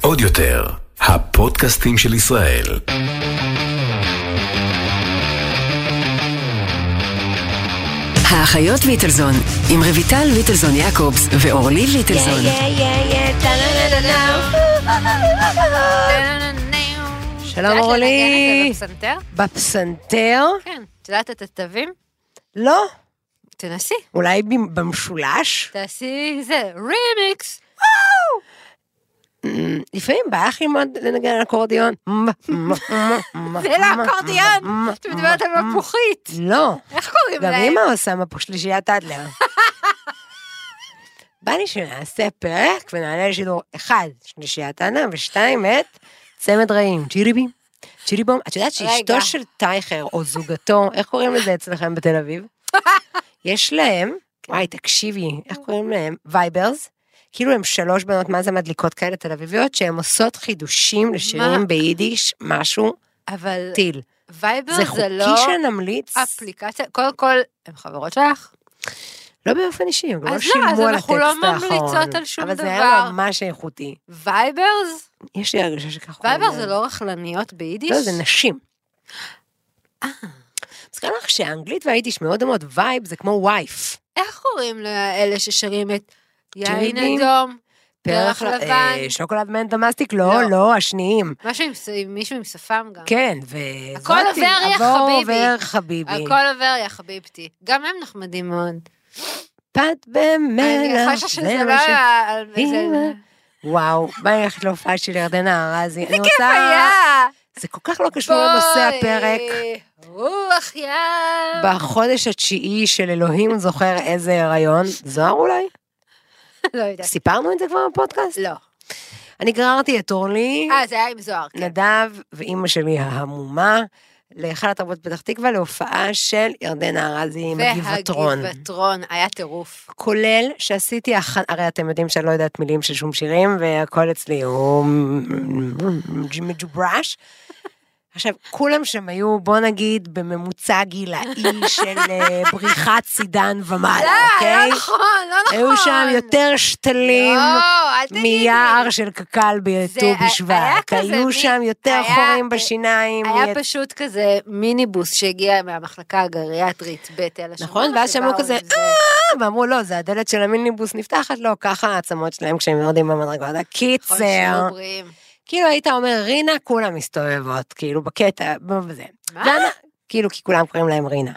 עוד יותר, הפודקאסטים של ישראל. האחיות ליטלזון, עם רויטל ליטלזון יעקובס ואורלי ליטלזון. שלום אורלי. בפסנתר? כן. את יודעת את התווים? לא. תנסי. אולי במ- במשולש? תעשי זה, רימיקס. אה, אמ, לפעמים בא לך ללמוד לנגן על אקורדיון. זה לא אה, אקורדיון. את מדברת על מפוחית. לא. איך קוראים גם להם? אמא עושה מפו שלישיית אדלר. בא לי שנעשה פרק ונעלה לשידור אחד, שלישיית אדלר, ושתיים את צמד רעים, צ'יריבים. צ'יריבום, את יודעת שאשתו רגע. של טייכר או זוגתו, איך קוראים לזה אצלכם בתל אביב? יש להם, וואי, תקשיבי, איך קוראים להם? וייברס. כאילו הם שלוש בנות, מה זה מדליקות כאלה תל אביביות, שהן עושות חידושים מה? לשירים ביידיש, משהו אבל טיל. וייבר זה זה חוקי לא שנמליץ? אפליקציה. קודם כל, הם חברות שלך. לא באופן אישי, הם גם לא אז לא, שילמו אז על הטקסט אנחנו האחרון. לא ממליצות על שום אבל זה היה דבר. ממש איכותי. וייברס? יש לי הרגשה שככה... וייבר אומרים. זה לא רכלניות ביידיש? לא, זה נשים. אה. אז כאן לך שהאנגלית והיידיש מאוד דומות, וייב זה כמו וייף. איך קוראים לאלה ששרים את יין ג'ילים? אדום? פרח ל- לבן. אה, שוקולד מן דומסטיק, לא, לא. לא, השניים. משהו עם ס- עם מישהו עם שפם גם. כן, וזאתי. הכל עובר, יא עבור חביבי. עובר חביבי. הכל עובר, יא חביבתי. גם הם נחמדים מאוד. פת במלח. אני חושבת שזה זה לא מה ש- היה על אמא. איזה... וואו, בא לי ללכת להופעה של ירדנה ארזי. איזה כיף היה! זה כל כך לא קשור לנושא הפרק. בואי, רוח ים. בחודש התשיעי של אלוהים זוכר איזה הריון, זוהר אולי? לא יודעת. סיפרנו את זה כבר בפודקאסט? לא. אני גררתי את אורלי, אה, זה היה עם זוהר, כן. נדב ואימא שלי ההמומה, להיכל התרבות פתח תקווה להופעה של ירדנה ארזי עם הגבעתרון. והגבעתרון, היה טירוף. כולל שעשיתי, הכ- הרי אתם יודעים שאני לא יודעת מילים של שום שירים, והכל אצלי הוא מג'וברש. עכשיו, כולם שם היו, בוא נגיד, בממוצע גילאי של אה, בריחת סידן לא, ומעלה, אוקיי? לא נכון, לא נכון. היו שם יותר שתלים לא, אל תגידי. מיער של קק"ל בט"ו זה ה- היה בשבט. כזה היו מי- שם יותר היה- חורים בשיניים. היה ית- פשוט כזה מיניבוס שהגיע מהמחלקה הגריאטרית בתל השומר. נכון, ואז שמעו כזה, אה, ואמרו, לא, זה הדלת של המיניבוס נפתחת, לא, ככה העצמות שלהם כשהם יורדים במדרגות. הקיצר, כאילו היית אומר, רינה, כולם מסתובבות, כאילו, בקטע, בזה. מה? למה? כאילו, כי כולם קוראים להם רינה.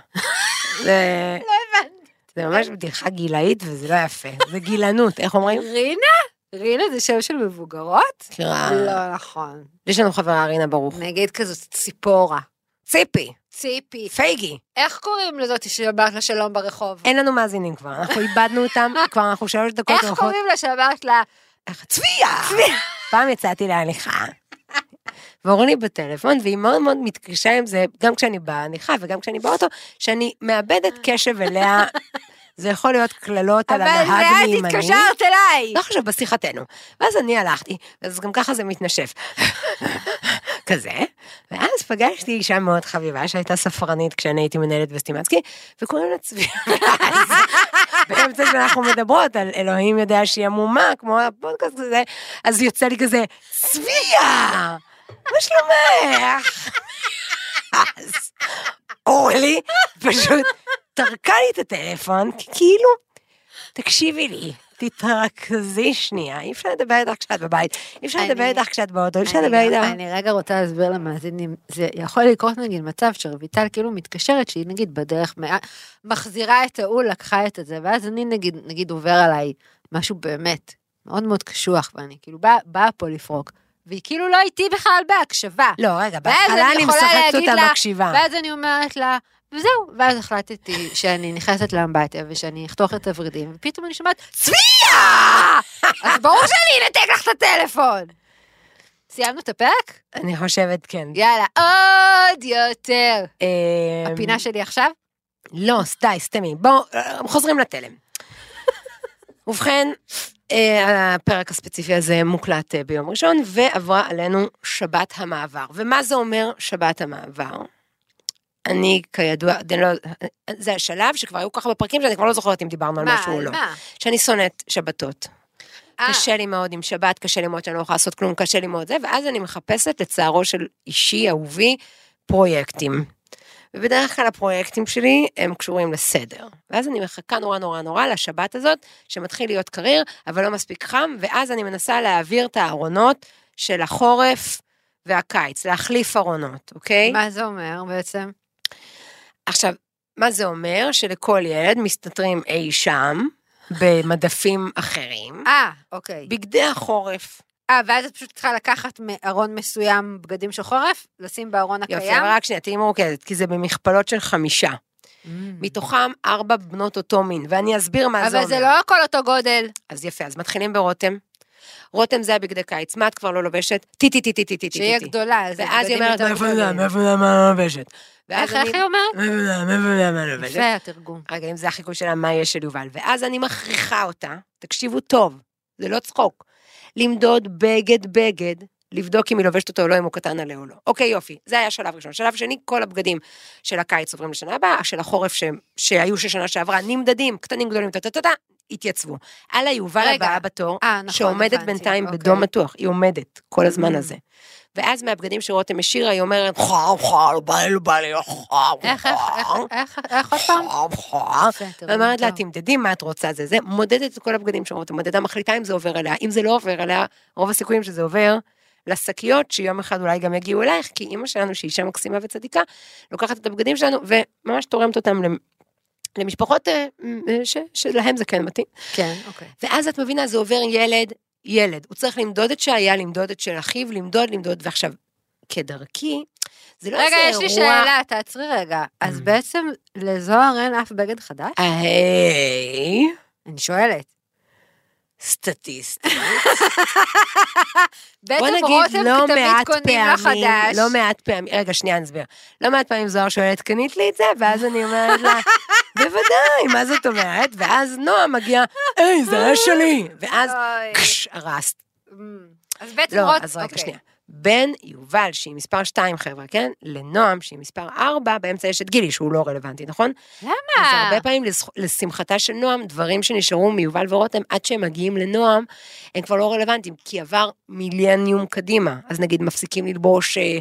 זה... לא הבנתי. זה ממש בדיחה גילאית, וזה לא יפה. זה גילנות, איך אומרים? רינה? רינה זה שם של מבוגרות? לא נכון. יש לנו חברה רינה ברוך. נגיד כזו ציפורה. ציפי, ציפי. פייגי. איך קוראים לזאת שאמרת לה שלום ברחוב? אין לנו מאזינים כבר, אנחנו איבדנו אותם, כבר אנחנו שלוש דקות איך הולכות. קוראים לה שאמרת לה? איך- צביה! פעם יצאתי להליכה. ואורלי בטלפון, והיא מאוד מאוד מתקשה עם זה, גם כשאני בהליכה וגם כשאני באוטו, שאני מאבדת קשב אליה. זה יכול להיות קללות על אבל הנהג מימני. זה את התקשרת אליי. לא חשוב, בשיחתנו. ואז אני הלכתי, אז גם ככה זה מתנשף. כזה. ואז פגשתי אישה מאוד חביבה שהייתה ספרנית כשאני הייתי מנהלת בסטימצקי, וקוראים לה צבי. ואז, באמצע שאנחנו מדברות על אלוהים יודע שהיא עמומה, כמו הפודקאסט הזה, אז יוצא לי כזה, צביה! מה שלומך? אז אורלי פשוט טרקה לי את הטלפון, כי כאילו, תקשיבי לי, תתרכזי שנייה, אי אפשר לדבר איתך כשאת בבית, אי אפשר אני- לדבר איתך כשאת באוטו, אי אפשר אני לדבר גם- איתך. אני רגע רוצה להסביר למאזינים, זה יכול לקרות נגיד מצב שרויטל כאילו מתקשרת שהיא נגיד בדרך, מה- מחזירה את ההוא, לקחה את הזה, ואז אני נגיד, נגיד עובר עליי משהו באמת מאוד מאוד קשוח, ואני כאילו באה באה פה לפרוק, והיא כאילו לא איתי בכלל בהקשבה. לא, רגע, ואז בהתחלה אני אני יכולה משחקת להגיד אותה לה, מקשיבה. ואז אני אומרת לה, וזהו, ואז החלטתי שאני נכנסת לאמבטיה ושאני אחתוך את הוורידים, ופתאום אני שומעת, צביה! אז ברור שאני אנתק לך את הטלפון. סיימנו את הפרק? אני חושבת, כן. יאללה, עוד יותר. אמ, הפינה שלי עכשיו? לא, ס- די, סתמי. בואו, אה, חוזרים לתלם. ובכן, אה, הפרק הספציפי הזה מוקלט אה, ביום ראשון, ועברה עלינו שבת המעבר. ומה זה אומר שבת המעבר? אני, כידוע, אני לא, זה השלב שכבר היו ככה בפרקים לא. שאני כבר לא זוכרת אם דיברנו על משהו או לא. מה? שאני שונאת שבתות. אה. קשה לי מאוד עם שבת, קשה לי מאוד שאני לא יכולה לעשות כלום, קשה לי מאוד זה, ואז אני מחפשת לצערו של אישי, אהובי, פרויקטים. ובדרך כלל הפרויקטים שלי הם קשורים לסדר. ואז אני מחכה נורא נורא נורא לשבת הזאת, שמתחיל להיות קריר, אבל לא מספיק חם, ואז אני מנסה להעביר את הארונות של החורף והקיץ, להחליף ארונות, אוקיי? אה, מה זה אומר בעצם? עכשיו, מה זה אומר? שלכל ילד מסתתרים אי שם, במדפים אחרים, אה, אוקיי. בגדי החורף. אה, ואז את פשוט צריכה לקחת מארון מסוים בגדים של חורף, לשים בארון הקיים. יופי, אבל רק שנייה, תהיי מרוכזת, כי זה במכפלות של Mm. חמישה. מתוכם ארבע בנות אותו מין, ואני אסביר מה זה אומר. אבל זה לא הכל אותו גודל. אז יפה, אז מתחילים ברותם. רותם זה הבגדי קיץ, מה את כבר לא לובשת? טי טי טי טי טי טי טי. שהיא גדולה, אז ואז היא בגדים אומרת, יותר מאיפה אני יודעת, גדולים. מאיפה אני יודעת מה אני לובשת? איך, ואז אני- איך היא אומרת? מאיפה אני יודעת, מאיפה אני יודעת מה אני לובשת? יפה, התרגום. רגע, אם זה החיקוי שלה, מה יש של יובל? ואז אני מכריחה אותה, תקשיבו טוב, זה לא צחוק, למדוד בגד-בגד, לבדוק אם היא לובשת אותו או לא, אם הוא קטן עליה או לא. אוקיי, יופי, זה היה שלב ראשון. שלב שני, כל הבגדים של הקיץ עוברים לשנה הבאה, של החורף ש... שהיו של שנה שעברה, נמדדים, קטנים, גדולים, טה-טה-טה, התייצבו. על היובל רגע. הבאה בתור, אה, נכון, שעומדת הבנתי, בינתיים אוקיי. בדום מתוח, היא עומדת כל הזמן Mm. הזה. ואז מהבגדים שרותם השאירה, היא אומרת, חאו חאו, בא לי, בא לי, חאו איך, איך, חאו. איך, איך, איך עוד פעם? יפה, תרגום אה, ואומרת לה, טוב. תמדדי מה את רוצה, זה זה, מודדת את כל הבגדים שאומרות, המודדה מחליטה אם זה עובר אליה, אם זה לא עובר אליה, רוב הסיכויים שזה עובר לשקיות, שיום אחד אולי גם יגיעו אלייך, כי אימא שלנו, שהיא אישה מקסימה וצדיקה, לוקחת את הבגדים שלנו וממש תורמת אותם למ- למשפחות אה, אה, ש- שלהם זה כן מתאים. כן, אוקיי. ואז את מבינה, זה עובר ילד, ילד. הוא צריך למדוד את שהיה, למדוד את של אחיו, למדוד, למדוד, ועכשיו, כדרכי, זה לא איזה רגע, אירוע... Mm. יש לי שאלה, תעצרי רגע. אז בעצם לזוהר אין אף בגד חדש? היי, אני שואלת. סטטיסט. בעצם בוא רותם נגיד, לא תמיד מעט קונים לה פעמים, חדש. לא מעט פעמים, רגע, שנייה, אני אסביר. לא מעט פעמים זוהר שואלת, קנית לי את זה? ואז אני אומרת לה, בוודאי, מה זאת אומרת? ואז נועה מגיעה, היי, זה היה שלי. ואז, אוי. קש, הרסת. אמ, אז בעצם לא, רותם... אז רגע, אוקיי. שנייה. בין יובל, שהיא מספר 2, חבר'ה, כן? לנועם, שהיא מספר 4, באמצע יש את גילי, שהוא לא רלוונטי, נכון? אז למה? הרבה פעמים לזכ- לשמחתה של נועם, דברים שנשארו מיובל ורותם עד שהם מגיעים לנועם, הם כבר לא רלוונטיים, כי עבר מיליאניום קדימה. אז נגיד מפסיקים ללבוש אה,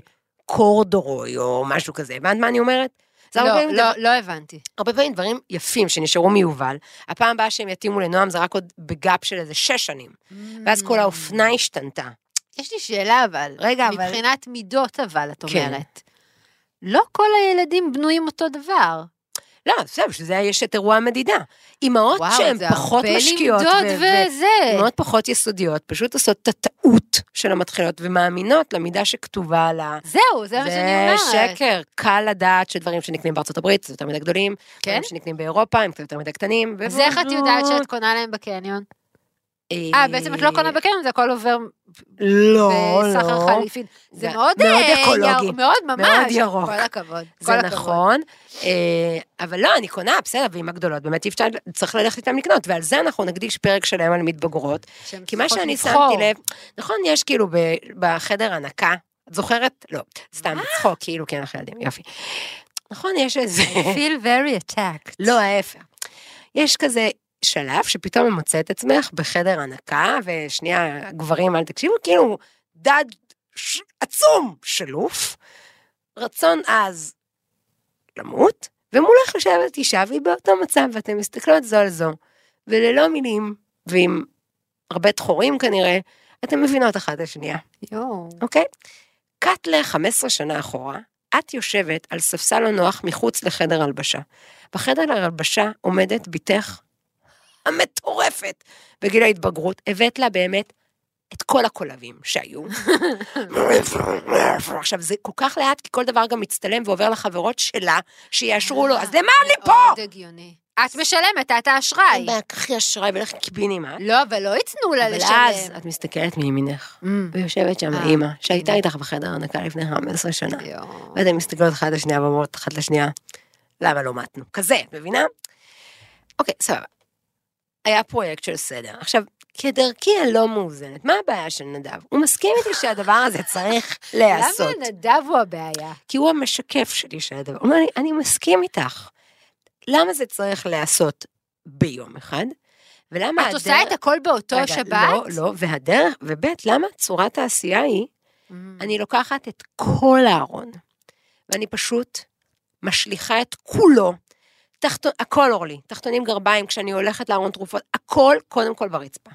קורדורוי או משהו כזה, הבנת מה אני אומרת? זה הרבה Mm. פעמים לא, לא, לא הבנתי. הרבה פעמים דברים יפים שנשארו מיובל, הפעם הבאה שהם יתאימו לנועם זה רק עוד בגאפ של איזה שש שנים, Mm. ואז כל האופנה השתנתה. יש לי שאלה אבל. רגע, אבל- מבחינת מידות אבל, את כן. אומרת. לא כל הילדים בנויים אותו דבר. לא, בסדר, בשביל זה יש את אירוע המדידה. אימהות שהן זה פחות הרבה משקיעות, למדוד ו- ו- וזה. אימהות פחות יסודיות, פשוט עושות את הטעות של המתחילות ומאמינות למידה שכתובה לה. זהו, זה מה שאני אומרת. זה שקר, קל לדעת שדברים שנקנים בארצות הברית זה יותר מדי גדולים, כן? דברים שנקנים באירופה הם קצת יותר מדי קטנים. אז איך את יודעת שאת קונה להם בקניון? אה, בעצם את לא קונה בקניון, זה הכל עבר לא, בסחר לא. חליפין. זה מאוד מאוד אה, אקולוגי. ירוק, מאוד ממש. מאוד ירוק. כל הכבוד. כל זה הכבוד. נכון, אה, אבל לא, אני קונה, בסדר, ועם הגדולות, באמת אי אפשר, צריך ללכת איתן לקנות, ועל זה אנחנו נקדיש פרק שלם על מתבגרות, שהן כי מה צריכות שאני כן, לבחור. שמתי לב, נכון, יש כאילו ב- בחדר הנקה, את זוכרת? לא, סתם בצחוק, כאילו, כי אנחנו ילדים, יופי. נכון, יש איזה... I feel very attacked. לא, ההפך. יש כזה שלב שפתאום את מוצאת עצמך בחדר הנקה, ושנייה, גברים, אל תקשיבו, כאילו, דד ש... עצום, שלוף, רצון עז למות, ומולך יושבת אישה והיא באותו מצב, ואתן מסתכלות זו על זו, וללא מילים, ועם הרבה דחורים כנראה, אתן מבינות אחת את השנייה. יואו. אוקיי? קאט ל-15 שנה אחורה, את יושבת על ספסל לא נוח מחוץ לחדר הלבשה. בחדר הלבשה עומדת בתך המטורפת בגיל ההתבגרות. הבאת לה באמת את כל הקולבים שהיו. עכשיו, זה כל כך לאט, כי כל דבר גם מצטלם ועובר לחברות שלה, שיאשרו לו, אז למה אני פה? אה, מאוד הגיוני. את משלמת, את האשראי. קחי אשראי ולך קיבינימה. לא, אבל לא יתנו לה אבל אז לשלם. את מסתכלת מימינך. אמ, ויושבת שם אה, אימא, שהייתה אימא. איתך בחדר הנקה לפני 15 שנה. יואו. ואתן לא מסתכלות אחת לשנייה ואומרות אחת לשנייה, למה לא מתנו? כזה, את מבינה? אוקיי, סבבה. היה פרויקט של סדר. עכשיו, כדרכי הלא מאוזנת, מה הבעיה של נדב? הוא מסכים איתי שהדבר הזה צריך להיעשות. למה נדב הוא הבעיה? כי הוא המשקף שלי של הדבר. הוא אומר לי, אני מסכים איתך. למה זה צריך להיעשות ביום אחד? ולמה את עושה את הכל באותו רגע, שבת? לא, לא, והדרך, וב' למה צורת העשייה היא, Mm. Mm-hmm. אני לוקחת את כל הארון, ואני פשוט משליכה את כולו, תחת... הכל אורלי, תחתונים גרביים, כשאני הולכת לארון תרופות, הכל קודם כל ברצפה.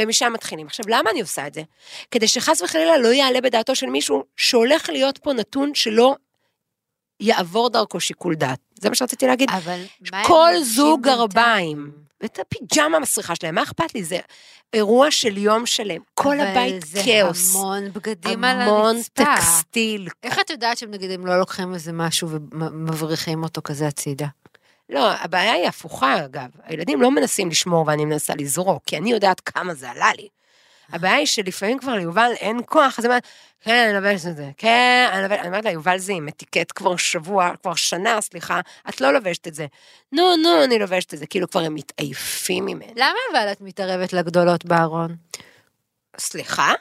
ומשם מתחילים. עכשיו, למה אני עושה את זה? כדי שחס וחלילה לא יעלה בדעתו של מישהו שהולך להיות פה נתון שלא יעבור דרכו שיקול דעת. זה מה שרציתי להגיד. אבל מה הם כל לובשים זוג בינתיים? גרביים, ואת הפיג'מה המסריחה שלהם, מה אכפת לי? זה אירוע של יום שלם, כל אבל הבית זה כאוס. המון בגדים על המון הרצפה. טקסטיל. איך את יודעת שהם נגיד הם לא לוקחים איזה משהו ומבריחים אותו כזה הצידה? לא, הבעיה היא הפוכה, אגב. הילדים לא מנסים לשמור ואני מנסה לזרוק, כי אני יודעת כמה זה עלה לי. הבעיה היא שלפעמים כבר ליובל אין כוח, אז היא אומרת, כן, אני לובשת את זה, כן, אני לובשת, אני אומרת לה, יובל זה עם אטיקט כבר שבוע, כבר שנה, סליחה, את לא לובשת את זה. נו, נו, אני לובשת את זה, כאילו כבר הם מתעייפים ממנו. למה אבל את מתערבת לגדולות בארון? סליחה?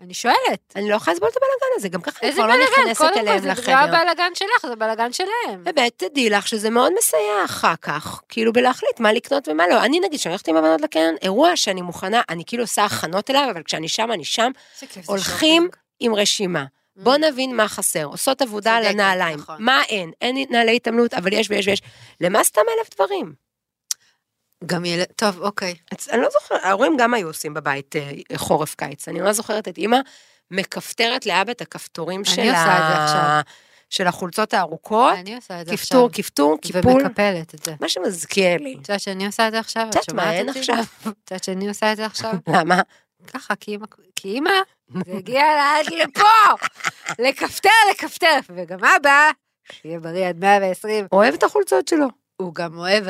אני שואלת. אני לא יכולה לסבול את הבלאגן הזה, גם ככה אני איזה כבר לא בלאגן? נכנסת קודם כל אליהם זה לא לחדר. אה, הבלאגן שלך, זה בלאגן שלהם. באמת, תדעי לך שזה מאוד מסייע אחר כך, כאילו בלהחליט מה לקנות ומה לא. אני נגיד, כשאני הולכת עם הבנות לקרן, אירוע שאני מוכנה, אני כאילו עושה הכנות אליו, אבל כשאני שם, אני שם, הולכים עם רשימה. בוא נבין מה חסר, עושות עבודה על צודקת, הנעליים, נכון. מה אין, אין נעלי התעמלות, אבל יש ויש ויש. למה סתם אלף דברים? גם ילד... טוב, אוקיי. אז אני לא זוכרת, ההורים גם היו עושים בבית אה, חורף-קיץ. אני ממש זוכרת את אימא מכפתרת לאבא את הכפתורים אני של, עושה את זה עכשיו. של החולצות הארוכות. אני עושה את זה עכשיו. אה, כפתור, כפתור, קיפול. ומקפלת את זה. מה שמזכיר לי. את יודעת שאני עושה את זה עכשיו? את יודעת מה, אין אותי? עכשיו. את יודעת שאני עושה את זה עכשיו? למה? ככה, כי אימא, כי אימא, זה הגיע עד לפה, לכפתר, לכפתר, וגם אבא, שיהיה בריא עד 120, אוהב את החולצות שלו. הוא גם אוהב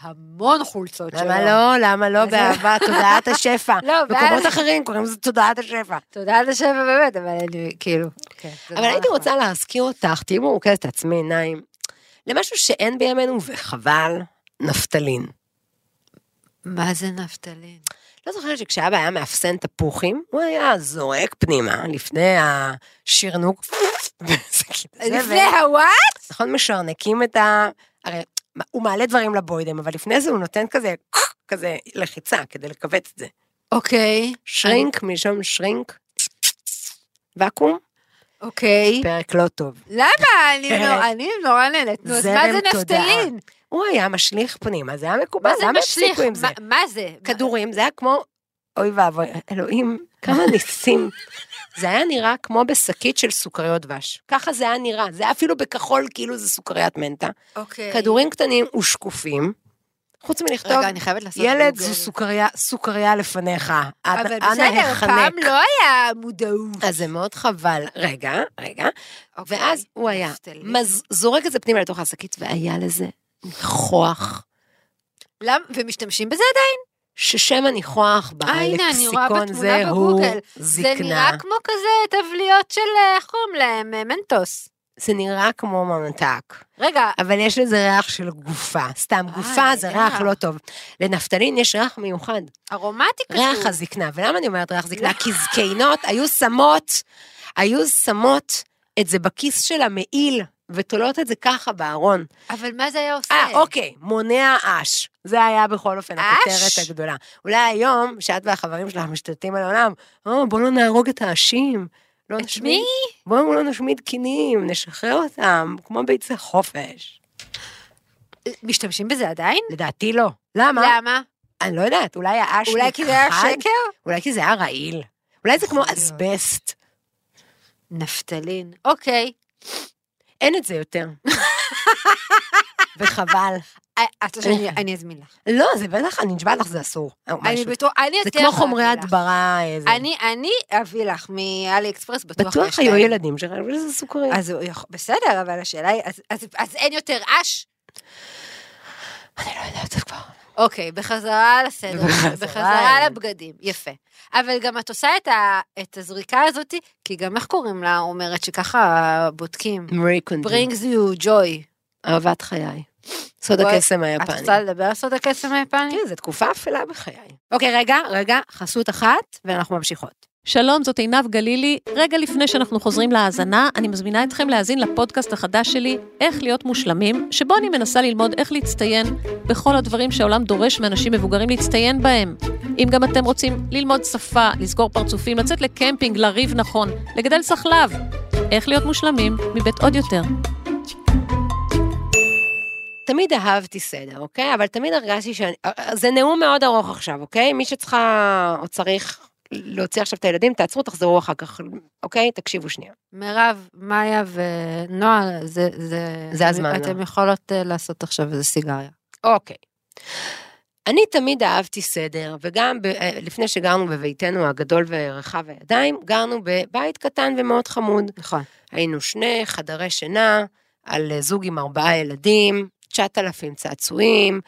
המון חולצות שלו. למה לא? למה לא? אז- באהבה, תודעת השפע. לא, ואז- מקומות אחרים קוראים לזה תודעת השפע. לא תודה על השבע באמת, אבל אני, כאילו, כן, זה אבל נורא הייתי נחמד. רוצה להזכיר אותך, תהיי מורכזת לעצמי עיניים, למשהו שאין בימינו, וחבל, נפטלין. מה זה נפתלין? לא זוכרת שכשאבא היה מאפסן תפוחים, הוא היה זורק פנימה לפני השרנוק. וזה כאילו- לפני הוואט? נכון, משרנקים את ה... הרי הוא מעלה דברים לבוידם, אבל לפני זה הוא נותן כזה, כזה לחיצה כדי לכווץ את זה. אוקיי, שרינק, משם שרינק. ואקום? אוקיי. פרק לא טוב. למה? אני נורא- אני נורא נהנית. נו, אז מה זרם זה תודעה. נפטלין? הוא היה משליך פנימה, זה היה מקובל, מה זה למה משליך? הפסיקו עם זה? מה- מה זה? כדורים, זה היה כמו, אוי ואבוי, אלוהים, כמה ניסים. זה היה נראה כמו בשקית של סוכריות דבש. ככה זה היה נראה, זה היה אפילו בכחול כאילו זה סוכריית מנטה. אוקיי. כדורים קטנים ושקופים, חוץ מלכתוב, רגע, אני חייבת לעשות ילד גוגל. זו סוכריה, סוכריה לפניך, אנא אבל אנא בסדר, החנק. פעם לא היה מודעות. אז זה מאוד חבל. רגע, רגע. אוקיי. ואז הוא היה נפתלי. מז- זורק את זה פנימה לתוך השקית, והיה לזה ניחוח, למ- ומשתמשים בזה עדיין? ששם הניחוח אה, הנה, אני רואה בלקסיקון בתמונה זה הוא בגוגל. זקנה. זה נראה כמו כזה תבליות של, אה, איך קוראים להם? אה, מנטוס. זה נראה כמו ממתק, רגע, אבל יש לזה ריח של גופה. סתם, אה, גופה זה ריח ריח. לא טוב. לנפתלין יש ריח מיוחד, ארומטי כתוב. ריח הזקנה. ולמה אני אומרת ריח לא. זקנה? כי זקנות היו שמות, היו שמות את זה בכיס של המעיל, ותולות את זה ככה בארון. אבל מה זה היה עושה? אה, אוקיי, מונע אש. זה היה בכל אופן אש? הכותרת הגדולה. אולי היום, שאת והחברים שלך משתלטים על העולם, או, בואו לא נהרוג את האשים. לא את נשמיד- מי? בואו לא נשמיד קינים, נשחרר אותם, כמו ביצי חופש. משתמשים בזה עדיין? לדעתי לא. למה? למה? אני לא יודעת, אולי האש אולי כי זה היה נכחד? שקר? אולי כי זה היה רעיל. אולי זה כמו יכול להיות. אסבסט. נפתלין. אוקיי. אין את זה יותר. וחבל. אה, את לא שאני- אני אזמין לך. לא, זה בטח, אני נשבעת לך, זה אסור. או אני משהו. בטוח, אני זה אצליח כמו חומרי להביא לך. הדברה. אה, זה. אני, אני אביא לך מאלי אקספרס, בטוח יש בטוח היו להם. אה, ילדים שחשבו שזה סוכרים. אז הוא יכול- בסדר, אבל השאלה היא, אז- אז- אז אין יותר אש? אני לא יודעת כבר. אוקיי, בחזרה לסדר, בחזרה בחזרה אל- לבגדים, יפה. אבל גם את עושה את, ה, את הזריקה הזאת, כי גם איך קוראים לה, אומרת שככה בודקים. מרי קונדי. brings you joy. אהבת חיי. סוד בואי, הקסם את היפני. רוצה לדבר על סוד הקסם היפני? כן, זו תקופה אפלה בחיי. אוקיי, רגע, רגע, חסות אחת, ואנחנו ממשיכות. שלום, זאת עינב גלילי. רגע לפני שאנחנו חוזרים להאזנה, אני מזמינה אתכם להאזין לפודקאסט החדש שלי, איך להיות מושלמים, שבו אני מנסה ללמוד איך להצטיין בכל הדברים שהעולם דורש מאנשים מבוגרים להצטיין בהם. אם גם אתם רוצים ללמוד שפה, לסגור פרצופים, לצאת לקמפינג, לריב נכון, לגדל סחלב, איך להיות מושלמים מבית עוד יותר. תמיד אהבתי סדר, אוקיי? אבל תמיד הרגשתי שאני... אה, זה נאום מאוד ארוך עכשיו, אוקיי? מי שצריכה או צריך להוציא עכשיו את הילדים, תעצרו, תחזרו אחר כך, אוקיי? תקשיבו שנייה. מירב, מאיה ונועה, זה, זה, זה הזמן, אתם נועה. יכולות אה, לעשות עכשיו איזה סיגריה. אוקיי. אני תמיד אהבתי סדר, וגם ב, אה, לפני שגרנו בביתנו הגדול ורחב הידיים, גרנו בבית קטן ומאוד חמוד. נכון. היינו שני חדרי שינה, על אה, זוג עם ארבעה ילדים, 9,000 צעצועים,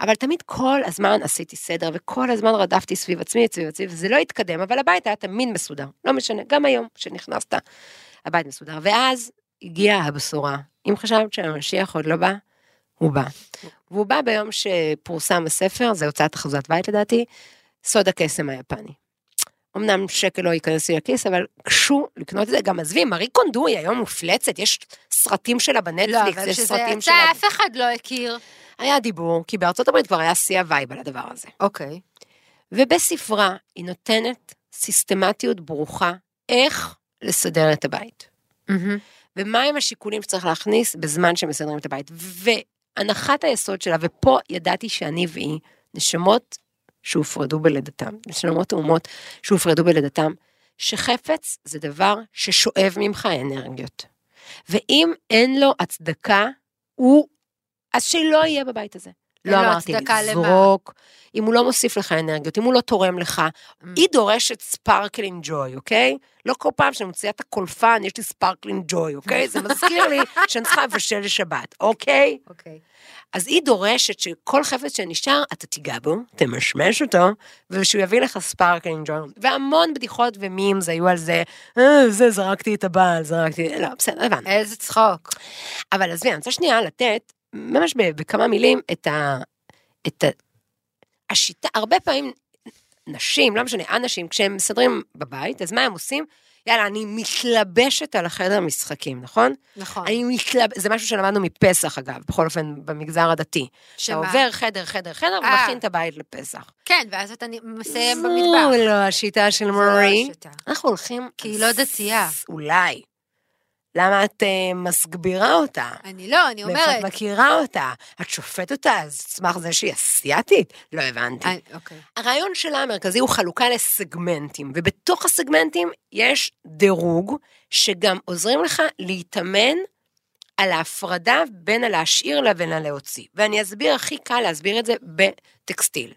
אבל תמיד כל הזמן עשיתי סדר, וכל הזמן רדפתי סביב עצמי, סביב עצמי, וזה לא התקדם, אבל הבית היה תמיד מסודר, לא משנה, גם היום שנכנסת, הבית מסודר. ואז הגיעה הבשורה. אם חשבת שהמשיח עוד לא בא, הוא בא. והוא בא ביום שפורסם הספר, זה הוצאת אחוזת בית לדעתי, סוד הקסם היפני. אמנם שקל לא ייכנס לי לכיס, אבל קשו לקנות את זה. גם עזבי, מארי קונדוי היום מופלצת, יש סרטים שלה לא, בנטפליקס, יש סרטים שלה... אחד לא הכיר. היה דיבור, כי בארצות הברית כבר היה שיא הווייב על הדבר הזה. אוקיי. ובספרה היא נותנת סיסטמטיות ברוכה איך לסדר את הבית. ומהם השיקולים שצריך להכניס בזמן שמסדרים את הבית. והנחת היסוד שלה, ופה ידעתי שאני והיא, נשמות שהופרדו בלידתם, נשמות אומות שהופרדו בלידתם, שחפץ זה דבר ששואב ממך אנרגיות. ואם אין לו הצדקה, הוא... אז שלא יהיה בבית הזה. אין לא לו אמרתי הצדקה למה? לזרוק, אם הוא לא מוסיף לך אנרגיות, אם הוא לא תורם לך, Mm. היא דורשת ספארקלינג ג'וי, אוקיי? לא כל פעם שאני מוציאה את הקולפן, יש לי ספארקלינג ג'וי, אוקיי? זה מזכיר לי שאני צריכה לבשל לשבת, אוקיי? אוקיי. אז היא דורשת שכל חפץ שנשאר, אתה תיגע בו, תמשמש אותו, ושהוא יביא לך ספארקלינג ג'וי. והמון בדיחות ומימס היו על זה, אה, זה, זרקתי את הבעל, זרקתי... לא, בסדר, הבנו. איזה צחוק. אבל עזבי, אני רוצה שנייה לתת, ממש ב- בכמה מילים, את ה... את ה... השיטה, הרבה פעמים נשים, לא משנה, אנשים, כשהם מסדרים בבית, אז מה הם עושים? יאללה, אני מתלבשת על החדר משחקים, נכון? נכון. אני מתלבשת, זה משהו שלמדנו מפסח אגב, בכל אופן, במגזר הדתי. אתה שמה? עובר חדר, חדר, חדר, אה. ומכין את הבית לפסח. כן, ואז אתה מסיים זו במדבר. לא השיטה של לא מורי. השיטה. אנחנו הולכים... כי היא לא דתייה. אולי. למה את אה, מסגבירה אותה? אני לא, אני מאיפה אומרת. את מכירה אותה? את שופטת אותה על סמך זה שהיא אסייתית? לא הבנתי. אני- אוקיי. הרעיון שלה המרכזי הוא חלוקה לסגמנטים, ובתוך הסגמנטים יש דירוג שגם עוזרים לך להתאמן על ההפרדה בין הלהשאיר לבין הלהוציא. ואני אסביר, הכי קל להסביר את זה בטקסטיל.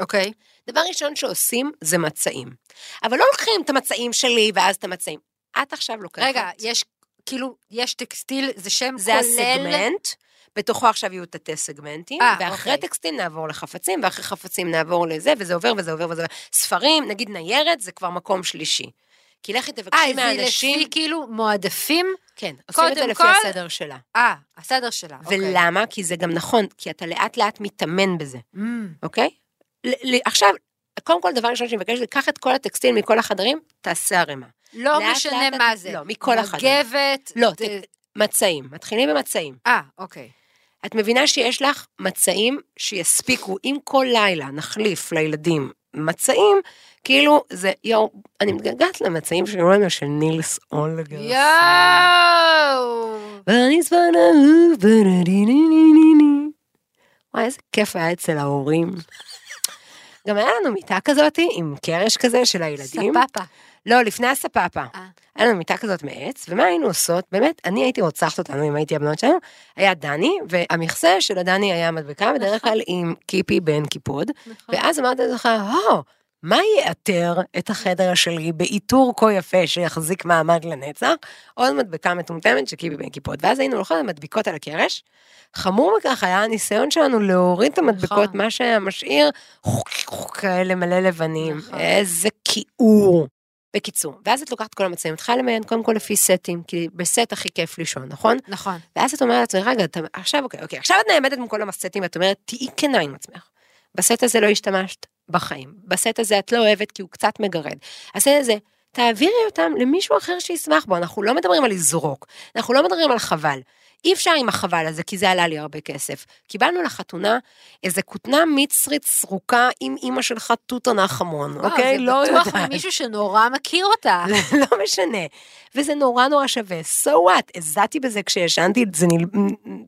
אוקיי. דבר ראשון שעושים זה מצעים. אבל לא לוקחים את המצעים שלי ואז את המצעים. את עכשיו לוקחת... רגע, יש, כאילו, יש טקסטיל, זה שם כולל... זה הסגמנט, בתוכו עכשיו יהיו תתי סגמנטים, אה, ואחרי אוקיי. טקסטים נעבור לחפצים, ואחרי חפצים נעבור לזה, וזה עובר וזה עובר וזה עובר. ספרים, נגיד ניירת, זה כבר מקום שלישי. כי לכי אה, תבקשי זה לפי מהאנשים, כאילו מועדפים? כן, עושים את זה קודם לפי כל- הסדר שלה. אה, הסדר שלה, אוקיי. ולמה? כי זה גם נכון, כי אתה לאט לאט מתאמן בזה, אמ, אוקיי? ל- ל- עכשיו, קודם כל, דבר ראשון שאני מבקשת, זה קח את כל הטקסטיל מכל החדרים, תעשה ערימה. לא לאט לאט משנה את- מה זה. לא, מכל החדר. מגבת. לא, זה- ת- מצעים, מתחילים במצעים. אה, אוקיי. את מבינה שיש לך מצעים שיספיקו, אם כל לילה נחליף לילדים מצעים, כאילו זה, יואו, אני מתגעגעת למצעים של רונה של נילס אולגרס. יואו! ואני זמן אהוב, בנדיניניניני. וואי, איזה כיף היה אצל ההורים. גם היה לנו מיטה כזאת עם קרש כזה של הילדים. ספאפה. לא, לפני הספאפה. אה. היה לנו מיטה כזאת מעץ, ומה היינו עושות? באמת, אני הייתי רוצחת אותנו אם הייתי הבנות שלנו, היה דני, והמכסה של הדני היה מדבקה, בדרך כלל עם קיפי בן קיפוד, נכון. ואז אמרתי לך, הו, מה יאתר את החדר שלי בעיטור כה יפה שיחזיק מעמד לנצח? עוד מדבקה מטומטמת של קיפי בן קיפוד. ואז היינו הולכות ומדביקות על הקרש. חמור מכך היה הניסיון שלנו להוריד את המדבקות, נכון. מה שהיה משאיר, כאלה מלא לבנים. נכון. איזה כיעור. בקיצור, ואז את לוקחת כל המצבים, את צריכה למיין קודם כל לפי סטים, כי בסט הכי כיף לישון, נכון? נכון. ואז את אומרת לעצמך, רגע, אתה, עכשיו אוקיי, אוקיי, עכשיו את נעמדת מול כל הסטים, את אומרת, תהיי כנה עם עצמך. בסט הזה לא השתמשת בחיים. בסט הזה את לא אוהבת כי הוא קצת מגרד. הסט הזה, תעבירי אותם למישהו אחר שישמח בו. אנחנו לא מדברים על לזרוק, אנחנו לא מדברים על חבל. אי אפשר עם החבל הזה, כי זה עלה לי הרבה כסף. קיבלנו לחתונה איזה כותנה מצרית סרוקה עם אימא שלך תות הנחמון, אוקיי? לא זה בטוח יודעת. ממישהו שנורא מכיר אותה. לא משנה. וזה נורא נורא שווה. So what? הזעתי בזה כשישנתי את זה נל...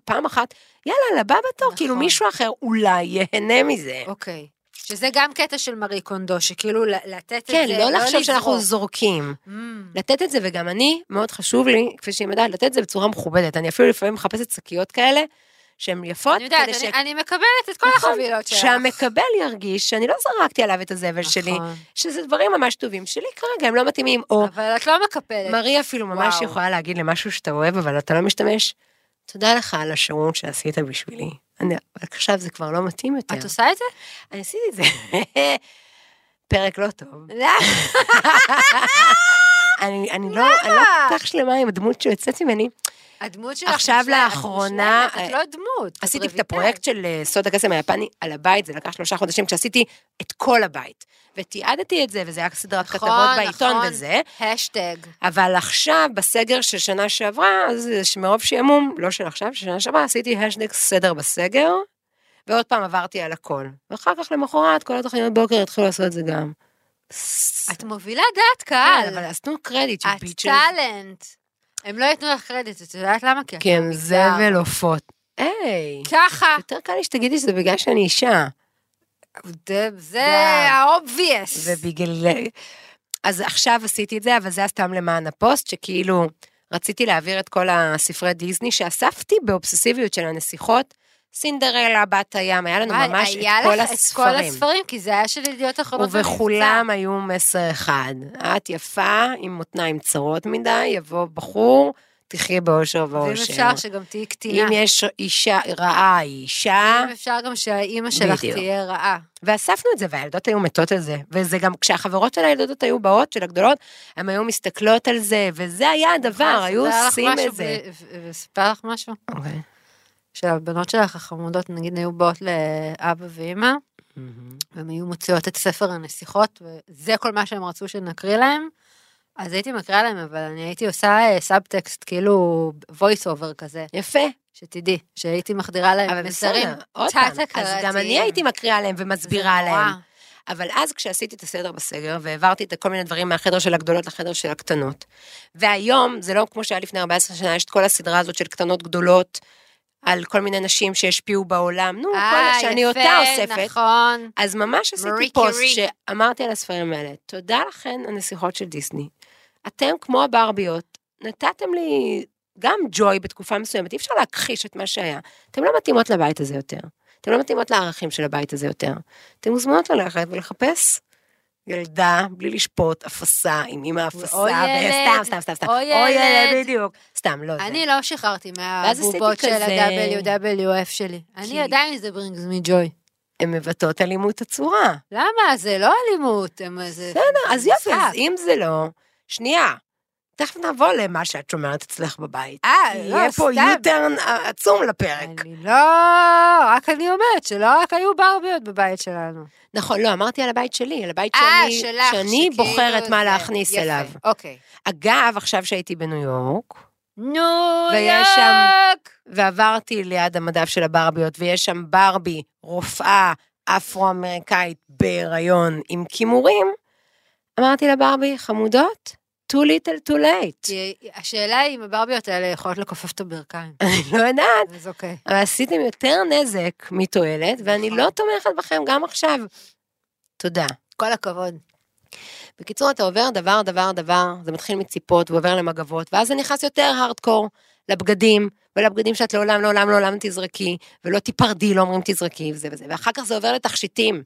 פעם אחת, יאללה, לבא בתור, נכון. כאילו מישהו אחר אולי יהנה מזה. אוקיי. שזה גם קטע של מארי קונדו, שכאילו ל- לתת את כן, אוקיי, לא זה, לחשוב שאנחנו לזרוק. זורקים. Mm. לתת את זה, וגם אני, מאוד חשוב לי, כפי שהיא יודעת, לתת את זה בצורה מכובדת. אני אפילו לפעמים מחפשת שקיות כאלה, שהן יפות, אני יודעת, כדי ש... אני- אני מקבלת את כל נכון, החבילות שלך. שהמקבל ירגיש שאני לא זרקתי עליו את הזבל שלי, נכון. שזה דברים ממש טובים שלי כרגע, הם לא מתאימים, או אבל את לא מקפלת. מרי אפילו ממש וואו. יכולה להגיד למשהו שאתה אוהב, אבל אתה לא משתמש, תודה לך על השירות שעשית בשבילי. אני, עכשיו זה כבר לא מתאים יותר. את עושה את זה? אני עשיתי את זה. פרק לא טוב. אני, אני לא, אני לא כל כך שלמה עם הדמות שיוצאת ממני. הדמות שלך עכשיו מושלמת, לאחרונה, מושלמת, את לא דמות. את עשיתי את רויטל. הפרויקט של אה, סוד הקסם היפני על הבית, זה לקח שלושה חודשים כשעשיתי את כל הבית. ותיעדתי את זה, וזה היה סדרת נכון, כתבות בעיתון נכון. וזה. השטג. אבל עכשיו, בסגר של שנה שעברה, אז יש מרוב שעמום, לא של עכשיו, של שנה שעברה, עשיתי השטג סדר בסגר, ועוד פעם עברתי על הכל. ואחר כך למחרת, כל התוכניות בוקר התחילו לעשות את זה גם. את מובילה דעת קהל. כן, אבל אז תנו קרדיט, את ביצ'ס. טאלנט. הם לא ייתנו לך קרדיט, את יודעת למה? כי את כי הם מהמגזר. כן, זבל עופות. כן. היי, ככה. יותר קל לי שתגידי שזה בגלל שאני אישה. זה- זה וואו. ה-obvious. ובגלל... אז עכשיו עשיתי את זה, אבל זה היה סתם למען הפוסט, שכאילו רציתי להעביר את כל הספרי דיסני שאספתי באובססיביות של הנסיכות. סינדרלה, בת הים, היה לנו וואי, ממש את היה כל לך את כל הספרים. הספרים, כי זה היה של ידיעות אחרונות. ובכולם היו מסר אחד. את יפה, עם מותניים צרות מדי, יבוא בחור, תחי באושר במבצע. ואם ואושר. אפשר שגם תהיי קטינה. אם יש אישה רעה, היא אישה. אם אפשר גם שהאימא שלך בדיוק. תהיה רעה. ואספנו את זה, והילדות היו מתות על זה. וזה גם, כשהחברות של הילדות היו באות, של הגדולות, הן היו מסתכלות על זה, וזה היה הדבר, נכון, היו סיפר עושים לך אוקיי. משהו את זה. בלי- ו- וסיפר לך משהו? שהבנות שלך החמודות, נגיד, היו באות לאבא ואימא, והן היו מוציאות את ספר הנסיכות, וזה כל מה שהם רצו שנקריא להם. אז הייתי מקריאה להם, אבל אני הייתי עושה אה, סאבטקסט, כאילו voice over כזה, יפה, שתדעי, שהייתי מחדירה אבל להם אה, מסרים. בסדר, עוד פעם, אז תת-הכרתיים. גם אני הייתי מקריאה להם זה ומסבירה נורא. להם. אבל אז כשעשיתי את הסדר בסגר, והעברתי את כל מיני דברים מהחדר של הגדולות לחדר של הקטנות, והיום, זה לא כמו שהיה לפני 14 שנה, יש את כל הסדרה הזאת של קטנות גדולות, על כל מיני נשים שהשפיעו בעולם, נו, כל אה, מה שאני יפה, אותה אוספת. לא נכון. אז ממש מרי עשיתי פוסט קירי. שאמרתי על הספרים האלה, תודה לכן הנסיכות של דיסני. אתם כמו הברביות, נתתם לי גם ג'וי בתקופה מסוימת, אי אפשר להכחיש את מה שהיה. אתם לא מתאימות לבית הזה יותר. אתם לא מתאימות לערכים של הבית הזה יותר. אתם מוזמנות ללכת ולחפש ילדה בלי לשפוט, אפסה, עם אמא אפסה, או ילד, וסתם, סתם, סתם, סתם. או ילד. בדיוק. סתם, לא זה. אני לא שחררתי ואז עשיתי מהבובות של כזה- ה-WWF שלי. כי- אני עדיין זה brings me joy. הן מבטאות אלימות הצורה. למה? זה לא אלימות, הם איזה... בסדר, אז יופי, משחק. אז אם זה לא, שנייה, תכף נעבור למה שאת שומרת אצלך בבית. אה, לא, יהיה פה סתם. יוטרן עצום לפרק. אני לא, רק אני אומרת שלא רק היו ברביות בבית שלנו. נכון, לא, אמרתי על הבית שלי, על הבית אה, שאני, שלך, שאני שכאילו בוחרת מה זה- להכניס יפה, אליו. אוקיי. אגב, עכשיו שהייתי בניו יורק, ניו ויש שם- יורק! ועברתי ליד המדף של הברביות, ויש שם ברבי, רופאה אפרו-אמריקאית בהיריון עם כימורים, אמרתי לברבי, חמודות, too little too late. כי השאלה היא אם הברביות האלה יכולות לכופף את הברכיים. אני לא יודעת. אז אוקיי. אבל עשיתם יותר נזק מתועלת, ואני נכון. לא תומכת בכם גם עכשיו. תודה. כל הכבוד. בקיצור, אתה עובר דבר, דבר, דבר, זה מתחיל מציפות ועובר למגבות, ואז זה נכנס יותר הארדקור לבגדים, ולבגדים שאת לעולם, לעולם, לעולם תזרקי, ולא תיפרדי, לא אומרים תזרקי, וזה וזה, ואחר כך זה עובר לתכשיטים.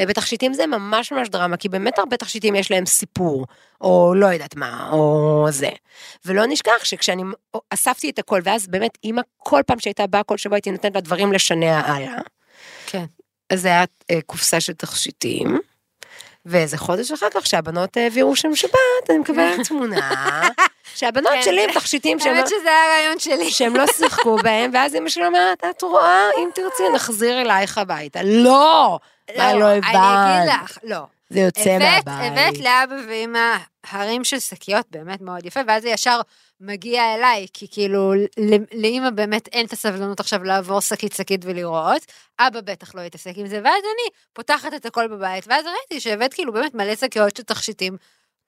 ובתכשיטים זה ממש ממש דרמה, כי באמת הרבה תכשיטים יש להם סיפור, או לא יודעת מה, או זה. ולא נשכח שכשאני אספתי את הכל, ואז באמת אימא כל פעם שהייתה באה, כל שבוע הייתי נותנת לה דברים לשנע הלאה. כן. אז זה היה אה, קופסה של תכשיטים, ואיזה חודש אחר כך שהבנות העבירו שם שבת, אני מקבלת תמונה, שהבנות כן, שלי עם זה- תכשיטים שהם לא- האמת שזה היה הרעיון שלי. שהם לא שיחקו בהם, ואז אמא שלי אומרת, את רואה, אם תרצי נחזיר אלייך הביתה. לא! מה לא אני אגיד הבנת? לך, לא. זה יוצא הבאת, מהבית. הבאת לאבא ואמא הרים של שקיות באמת מאוד יפה, ואז זה ישר מגיע אליי, כי כאילו, ל- לאמא באמת אין את הסבלנות עכשיו לעבור שקית-שקית ולראות, אבא בטח לא יתעסק עם זה, ואז אני פותחת את הכל בבית, ואז ראיתי שהבאת כאילו באמת מלא שקיות של תכשיטים,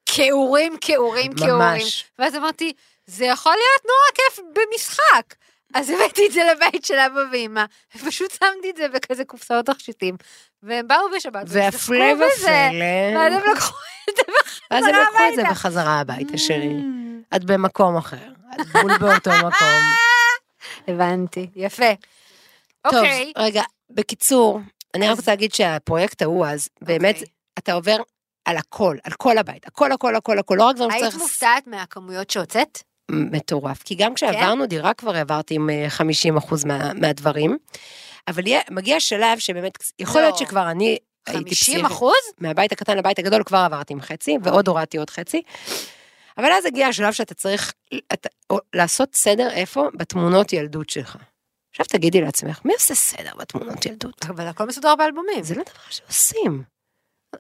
כעורים, כעורים, כעורים, ממש. ואז אמרתי, זה יכול להיות נורא כיף במשחק. אז הבאתי את זה לבית של אבא ואמא, ופשוט שמתי את זה בכזה קופסאות תכשיטים, והם באו בשבת, והפלא והשתחקו בזה, ואז ופלא. הם לקחו את זה ואז הם בחזרה לקחו את זה הביתה. Mm. בחזרה הביתה, שרי. "Hmm." את במקום אחר. את בול באותו מקום. הבנתי, יפה. טוב, אוקיי. רגע, בקיצור, אני רק אז- רוצה להגיד שהפרויקט ההוא אז, באמת, אוקיי. אתה עובר על הכל, על כל הבית, הכל, הכל, הכל, הכל, לא רק דברים היית שצריך... מופתעת מהכמויות שהוצאת? מטורף. כי כן. גם כשעברנו דירה כבר העברתי עם אה, 50% מה, מהדברים, אבל יהיה- מגיע שלב שבאמת, יכול לא. להיות שכבר אני הייתי 50 פסיבית. אחוז? מהבית הקטן לבית הגדול כבר עברתי עם חצי, ועוד הורדתי עוד חצי. אבל אז הגיע השלב שאתה צריך אתה, או, לעשות סדר איפה? בתמונות ילדות שלך. עכשיו תגידי לעצמך, מי עושה סדר בתמונות ילדות? אבל הכל מסודר באלבומים. זה לא דבר שעושים.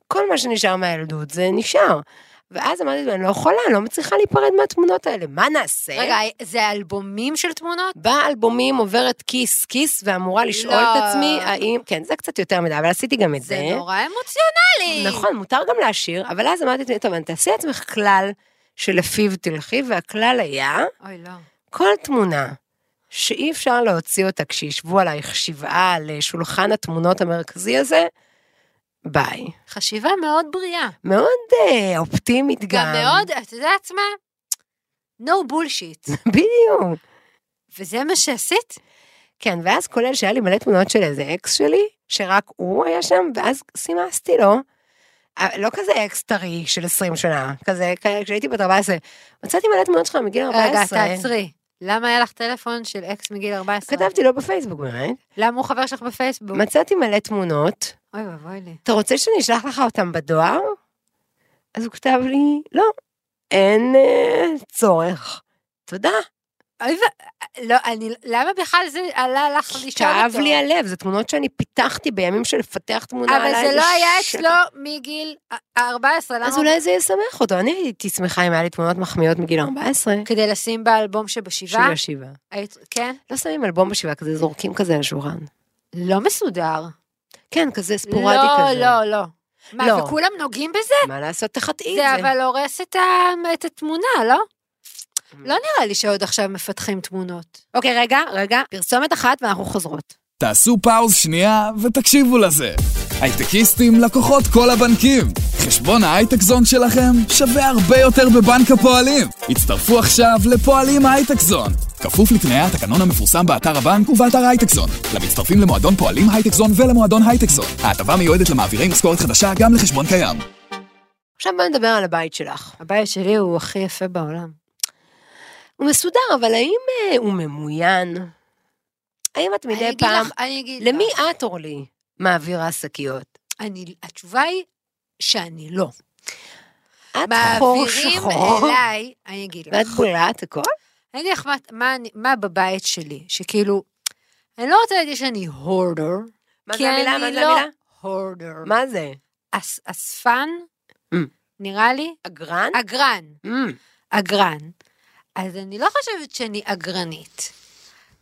כל מה שנשאר מהילדות זה נשאר. ואז אמרתי, לעצמי, אני לא יכולה, אני לא מצליחה להיפרד מהתמונות האלה, מה נעשה? רגע, זה אלבומים של תמונות? באלבומים עוברת כיס כיס ואמורה לשאול לא. את עצמי האם, כן זה קצת יותר מדי, אבל עשיתי גם את זה. זה נורא אמוציונלי. נכון, מותר גם לעשיר, אבל אז אמרתי לעצמי, טוב, אני תעשי לעצמך כלל שלפיו תלכי, והכלל היה, אוי, לא. כל תמונה שאי אפשר להוציא אותה כשישבו עלייך שבעה על אה, שולחן התמונות המרכזי הזה, ביי. חשיבה מאוד בריאה. מאוד אה, אופטימית גם. גם מאוד, את יודעת מה? No bullshit. בדיוק. וזה מה שעשית? כן, ואז כולל שהיה לי מלא תמונות של איזה אקס שלי, שרק הוא היה שם, ואז סימסתי לו. אה, לא כזה אקס טרי של 20 שנה, כזה, כ- כשהייתי בת 14. מצאתי מלא תמונות שלך מגיל 14. רגע, תעצרי. למה היה לך טלפון של אקס מגיל 14? כתבתי לו בפייסבוק, באמת. למה הוא חבר שלך בפייסבוק? מצאתי מלא תמונות. אוי ואבוי לי. אתה רוצה שאני אשלח לך אותם בדואר? אז הוא כתב לי, לא, אין אה, צורך. תודה. אוי ו... לא, אני... למה בכלל זה עלה לך לשאול אותו? כאב לי הלב, זה תמונות שאני פיתחתי בימים של לפתח תמונה אבל עליי, זה לא היה שקר. אצלו מגיל ה- 14, למה? אז אולי זה ישמח אותו. אני הייתי שמחה אם היה לי תמונות מחמיאות מגיל 14. כדי לשים באלבום של שבשבעה? ישיבה. היית- כן? לא שמים אלבום בשבעה כזה, זורקים כזה על השולחן. לא מסודר. כן, כזה ספורדי לא, כזה. לא, לא. מה, לא. וכולם נוגעים בזה? מה לעשות, תחטאי את זה זה. אבל הורס את ה- את התמונה, לא? לא נראה לי שעוד עכשיו מפתחים תמונות. אוקיי, רגע, רגע, פרסומת אחת ואנחנו חוזרות. תעשו פאוז שנייה ותקשיבו לזה. הייטקיסטים לקוחות כל הבנקים. חשבון ההייטק זון שלכם שווה הרבה יותר בבנק הפועלים. הצטרפו עכשיו לפועלים הייטק זון. כפוף לתנאי התקנון המפורסם באתר הבנק ובאתר הייטק זון. למצטרפים למועדון פועלים הייטק זון ולמועדון הייטק זון. ההטבה מיועדת למעבירי משכורת חדשה גם לחשבון קיים. עכשיו בואי נדבר על הבית שלך. הבית שלי הוא הכי יפה בעולם. הוא מסודר, אבל האם אה, הוא ממוין? האם את אני מדי אגיד פעם... לך- אני אגיד לך. למי את, אורלי, מעבירה שקיות? אני- התשובה היא שאני לא. את חור מעבירים שחור, אליי, אני אגיד לך. ואת בולעת הכל? אני אגיד לך מה, מה, אני- מה בבית שלי, שכאילו, אני לא רוצה להגיד שאני הורדר, מה כי זה המילה? מה אני זה לא המילה? הורדר. מה זה? אס, אספן, Mm. נראה לי, אגרן? אגרן, אמ, אגרן. אז אני לא חושבת שאני אגרנית.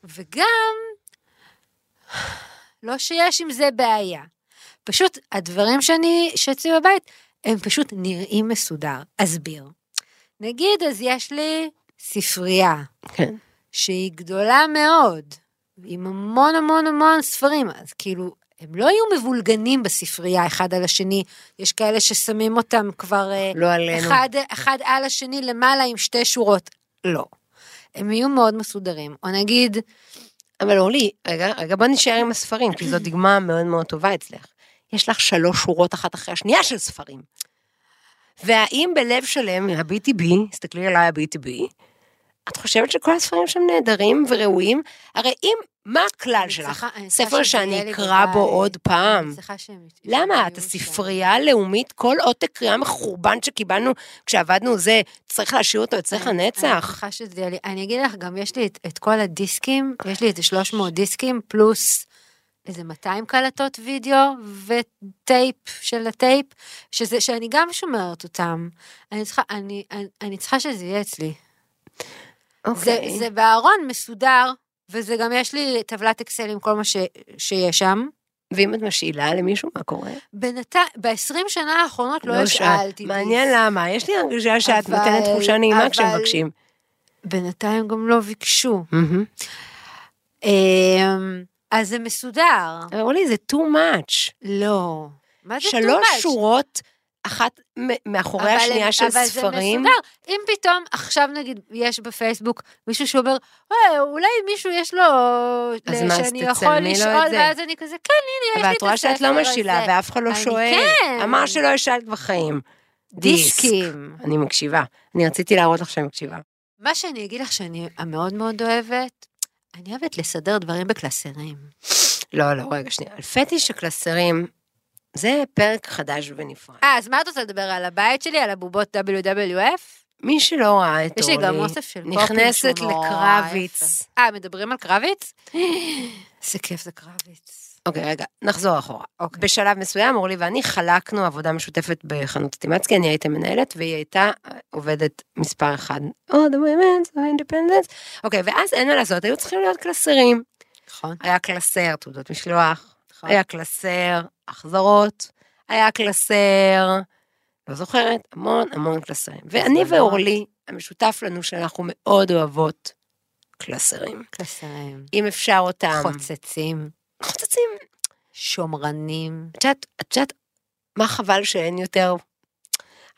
וגם, לא שיש עם זה בעיה. פשוט הדברים שאני, שאצלי בבית, הם פשוט נראים מסודר. אסביר. נגיד, אז יש לי ספרייה. כן. שהיא גדולה מאוד, עם המון המון המון ספרים, אז כאילו, הם לא היו מבולגנים בספרייה אחד על השני, יש כאלה ששמים אותם כבר אה, לא עלינו. אחד, אחד על השני למעלה עם שתי שורות, לא. הם יהיו מאוד מסודרים, או נגיד, אבל אורלי, רגע, רגע, בוא נשאר עם הספרים, כי זו דוגמה מאוד מאוד טובה אצלך. יש לך שלוש שורות אחת אחרי השנייה של ספרים. והאם בלב שלם, הביטי בי, תסתכלי עליי הביטי בי, את חושבת שכל הספרים שם נהדרים וראויים? הרי אם, מה הכלל אני שלך? צריכה- אני צריכה ספר שזה יהיה שאני לי אקרא בו בבית. עוד פעם. אני צריכה שהם... למה? שהם את יהיו שם. הספרייה הלאומית, כל עותק קריאה מחורבן שקיבלנו כשעבדנו זה, צריך להשאיר אותו אצלך אני- אני לנצח. בטוחה שזה יהיה לי. אני אגיד לך, גם יש לי את, את כל הדיסקים, יש לי איזה 300 דיסקים, פלוס איזה 200 קלטות וידאו וטייפ של הטייפ, שזה, שאני גם שומרת אותם. אני צריכה, אני, אני, אני צריכה שזה יהיה אצלי. אה, אוקיי. זה, זה בארון מסודר, וזה גם יש לי טבלת אקסל עם כל מה ש, שיש שם. ואם את משאילה למישהו, מה קורה? בינתי, ב-20 שנה האחרונות לא, השאלתי. שאלת. מעניין למה, יש לי הרגשה שאת אבל- נותנת תחושה אבל- נעימה כשמבקשים. בינתיים גם לא ביקשו. מהמם. אמ, אז זה מסודר. אמרו לי, זה too much. לא. מה זה שלוש too much? שורות, אחת מ- מאחורי אבל השנייה הם- של אבל ספרים. זה מסודר. אם פתאום עכשיו נגיד יש בפייסבוק מישהו שאומר, "אה, אולי מישהו יש לו, אה, אז מה, אז שאני תצלמי יכול לו את לשאול, זה. ואז אני כזה, כן, הנה, יש לי את הספר הזה. ואת רואה שאת לא משילה, ואף אחד לא אני שואל. כן. אמר שלא השאלת בחיים. דיסק. דיסקים. אני מקשיבה. אני רציתי להראות לך שאני מקשיבה. מה שאני אגיד לך שאני המאוד מאוד אוהבת, אני אוהבת לסדר דברים בקלסרים. לא, לא, רגע, שנייה. על פטיש הקלסרים, זה פרק חדש ונפרד. אה, אז מה את רוצה לדבר על הבית שלי, על הבובות WWF? מי שלא ראה את יש אורלי, לי גם אוסף של פופים נכנסת שהוא נורא לקרביץ. יפה. אה, מדברים על קרביץ? איזה כיף זה קרביץ. אוקיי, רגע, נחזור אחורה. אוקיי. בשלב מסוים, אורלי ואני חלקנו עבודה משותפת בחנות סטימצקי, אני הייתי מנהלת, והיא הייתה אה, עובדת מספר אחד. או, the women's, או independence. אוקיי, ואז אין מה לעשות, היו צריכים להיות קלסרים. נכון. היה קלסר תעודות משלוח, נכון. היה קלסר החזרות, היה קלסר, לא זוכרת, המון המון קלסרים. ואני הזמנות. ואורלי, המשותף לנו שאנחנו מאוד אוהבות קלסרים. קלסרים. אם אפשר אותם. חוצצים, חוצצים. שומרנים. את יודעת, את יודעת, מה חבל שאין יותר?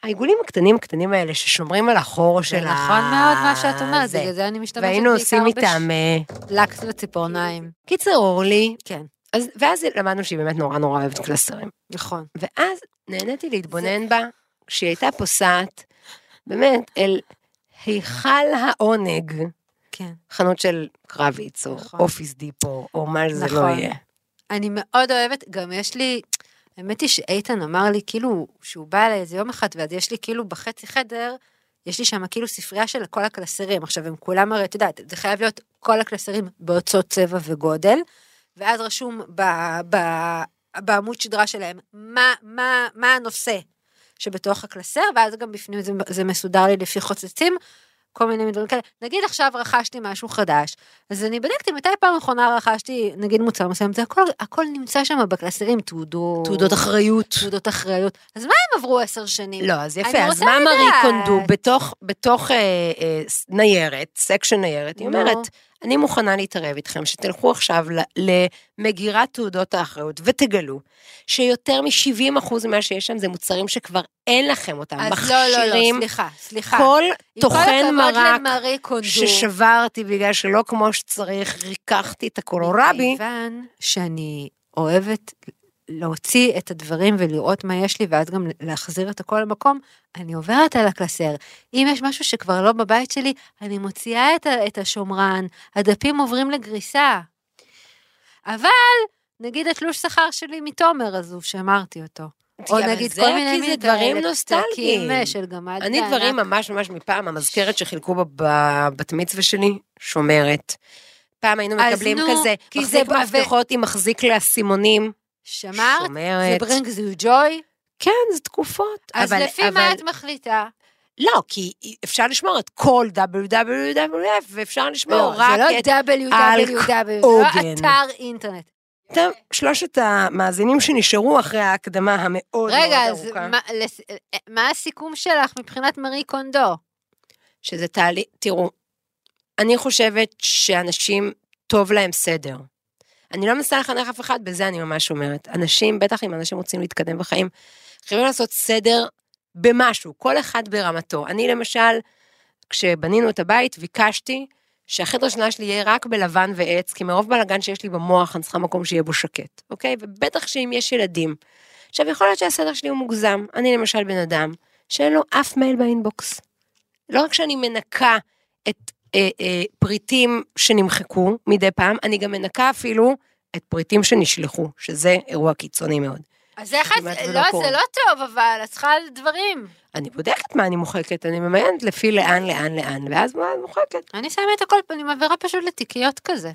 העיגולים הקטנים הקטנים האלה ששומרים על החור זה של ה... נכון מאוד מה שאת אומרת, זה. בגלל זה אני משתמשת והיינו עושים בעיקר איתם... אה, בלקס וציפורניים. קיצר, אורלי, כן. אז, ואז למדנו שהיא באמת נורא נורא אוהבת קלסרים. נכון. ואז נהניתי להתבונן בה, כשהיא הייתה פוסעת, באמת, אל היכל העונג, כן. חנות של קרביץ, או נכון. אופיס דיפו, או מה זה לא נכון. יהיה. אני מאוד אוהבת, גם יש לי, האמת היא שאיתן אמר לי, כאילו, שהוא בא אליי איזה יום אחד, ואז יש לי כאילו בחצי חדר, יש לי שם כאילו ספרייה של כל הקלסרים. עכשיו, הם כולם הרי, את יודעת, זה חייב להיות כל הקלסרים באותו צבע וגודל, ואז רשום ב, ב, בעמוד שדרה שלהם, מה, מה, מה הנושא שבתוך הקלסר, ואז גם בפנים זה, זה מסודר לי לפי חוצצים. כל מיני דברים כאלה. נגיד עכשיו רכשתי משהו חדש, אז אני בדקתי מתי פעם אחרונה רכשתי, נגיד מוצר מסוים, זה הכל, הכל נמצא שם בקלסרים, תעודות, אחריות. תעודות אחריות. אז מה אם עברו עשר שנים? לא, אז יפה, אני אז רוצה מה מארי לדעת. קונדו בתוך, בתוך אה, אה, ס- ניירת, סקשן ניירת, היא נו. אומרת, אני מוכנה להתערב איתכם, שתלכו עכשיו ל- למגירת תעודות האחריות ותגלו שיותר מ-70% ממה שיש שם זה מוצרים שכבר אין לכם אותם, אז לא, לא, לא, מכשירים, סליחה, סליחה. כל עם כל טוחן הכבוד מרק למרי קונדו. ששברתי בגלל שלא כמו שצריך, ריככתי את הקולורבי, מכיוון שאני אוהבת להוציא את הדברים ולראות מה יש לי, ואז גם להחזיר את הכל למקום, אני עוברת על הקלסר. אם יש משהו שכבר לא בבית שלי, אני מוציאה את, ה- את השומרן, הדפים עוברים לגריסה. אבל, נגיד התלוש שכר שלי מתומר, אז הוא שמרתי אותו. או אבל נגיד זה כל מיני כי מין זה דברים כאלה נוסטלגיים. פתקים, אה, של גמד אני וענק. דברים ממש ממש מפעם, המזכרת שחילקו בב- בבת מצווה שלי, שומרת. פעם היינו אז מקבלים נו, כזה, כי מחזיק זה- מפתחות עם מחזיק לאסימונים, שמרת, זה שומרת. ברינג זו ג'וי, כן, זה תקופות. אז אבל- לפי מה אבל- את מחליטה? לא, כי אפשר לשמור את כל WWF, ואפשר לא, לשמור רק את... זה לא www, זה עוגן. לא אתר אינטרנט. אתם, שלושת המאזינים שנשארו אחרי ההקדמה המאוד מאוד ארוכה. רגע, אז מה- לס- אה, מה הסיכום שלך מבחינת מארי קונדו? שזה תהליך, תראו, אני חושבת שאנשים, טוב להם סדר. אני לא מנסה לחנך אף אחד, בזה אני ממש אומרת. אנשים, בטח אם אנשים רוצים להתקדם בחיים, חייבים לעשות סדר במשהו, כל אחד ברמתו. אני למשל, כשבנינו את הבית, ביקשתי שהחדר שלה שלי יהיה רק בלבן ועץ, כי מרוב בלאגן שיש לי במוח, אני צריכה מקום שיהיה בו שקט, אוקיי? ובטח שאם יש ילדים. עכשיו, יכול להיות שהסדר שלי הוא מוגזם. אני למשל בן אדם שאין לו אף מייל באינבוקס. לא רק שאני מנקה את אה, אה, פריטים שנמחקו מדי פעם, אני גם מנקה אפילו את פריטים שנשלחו, שזה אירוע קיצוני מאוד. אז זה אחד, כמעט ולא לא, קורה. זה לא טוב, אבל את צריכה דברים. אני בודקת מה אני מוחקת, אני ממיינת לפי לאן, לאן, לאן, ואז מה אני מוחקת. אני שמה את הכל, אני מעבירה פשוט לתיקיות כזה.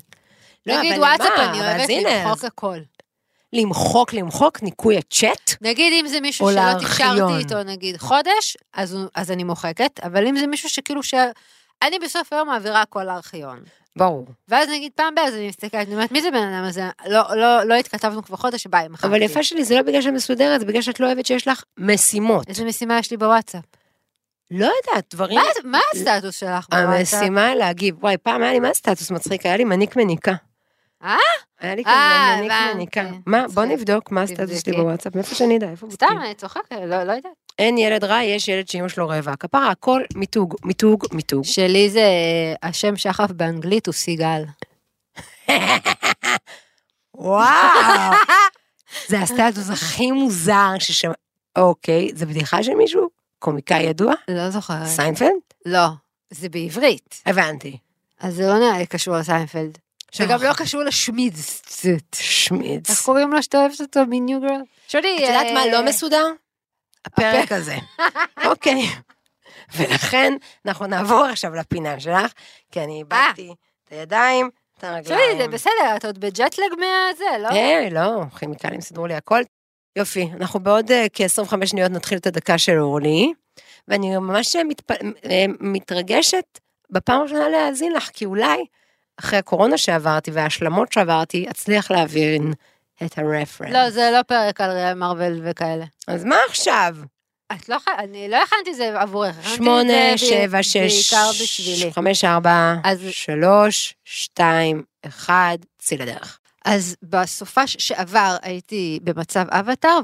לא, נגיד אבל וואטסאפ, מה? אני אבל אוהבת אז הנה, למחוק אז הכל. למחוק, למחוק, ניקוי הצ'אט. נגיד אם זה מישהו או שלא לארכיון. תקשרתי איתו, נגיד חודש, אז, הוא- אז אני מוחקת, אבל אם זה מישהו שכאילו ש... אני בסוף היום מעבירה הכל לארכיון. ברור. ואז נגיד פעם באז אני מסתכלת, אני אומרת, מי זה בן אדם הזה? לא, לא, לא התכתבנו כבר חודש, ביי, מחר. אבל יפה שלי, זה לא בגלל שאת מסודרת, זה בגלל שאת לא אוהבת שיש לך משימות. איזה משימה יש לי בוואטסאפ? לא יודעת, דברים... מה, מה הסטטוס שלך בוואטסאפ? המשימה להגיב. וואי, פעם היה לי מה סטטוס מצחיק, היה לי מניק מניקה. אה? היה לי אה, כזה מניק הבנתי. מניקה. מה, בוא מצחיק. נבדוק מה הסטטוס שלי תבדקי. בוואטסאפ, מאיפה שאני אדע, איפה סתם, בודקים? אני צוחקת, לא, לא יודעת. אין ילד רע, יש ילד שאימא שלו רעבה. כפרה, הכל מיתוג, מיתוג, מיתוג. שלי זה, השם שחף באנגלית הוא סיגל. וואו! זה הסטטוס הכי מוזר ששמע... אוקיי, זה בדיחה של מישהו? קומיקאי ידוע? לא זוכרת. סיינפלד? לא, זה בעברית. הבנתי. אז זה לא נראה לי קשור לסיינפלד. זה גם לא קשור לשמידסט. שמיץ. איך קוראים לו שאתה אוהבת אותו מניו גרל? שולי, את יודעת אה, מה לא מסודר? הפרק הזה. אוקיי. ולכן אנחנו נעבור עכשיו לפינה שלך, כי אני איבדתי את הידיים, את הרגליים. שולי, זה בסדר, את עוד בג'טלג מהזה, לא? אה, לא, כימיקלים סידרו לי הכל. יופי, אנחנו בעוד אה, כ-25 שניות נתחיל את הדקה של אורלי, ואני ממש מתפ... אה, מתרגשת בפעם הראשונה להאזין לך, כי אולי אחרי הקורונה שעברתי וההשלמות שעברתי, אצליח להבין את הרפרנס. לא, זה לא פרק על ראם מרוויל וכאלה. אז מה עכשיו? את לא ח- אני לא הכנתי את זה עבורך. הכנתי את שמונה, זה ב- שבע, שש, בעיקר בשבילי. חמש, ארבע, אז- שלוש, שתיים, אחד, צאי לדרך. אז בסופש שעבר הייתי במצב אבטאר,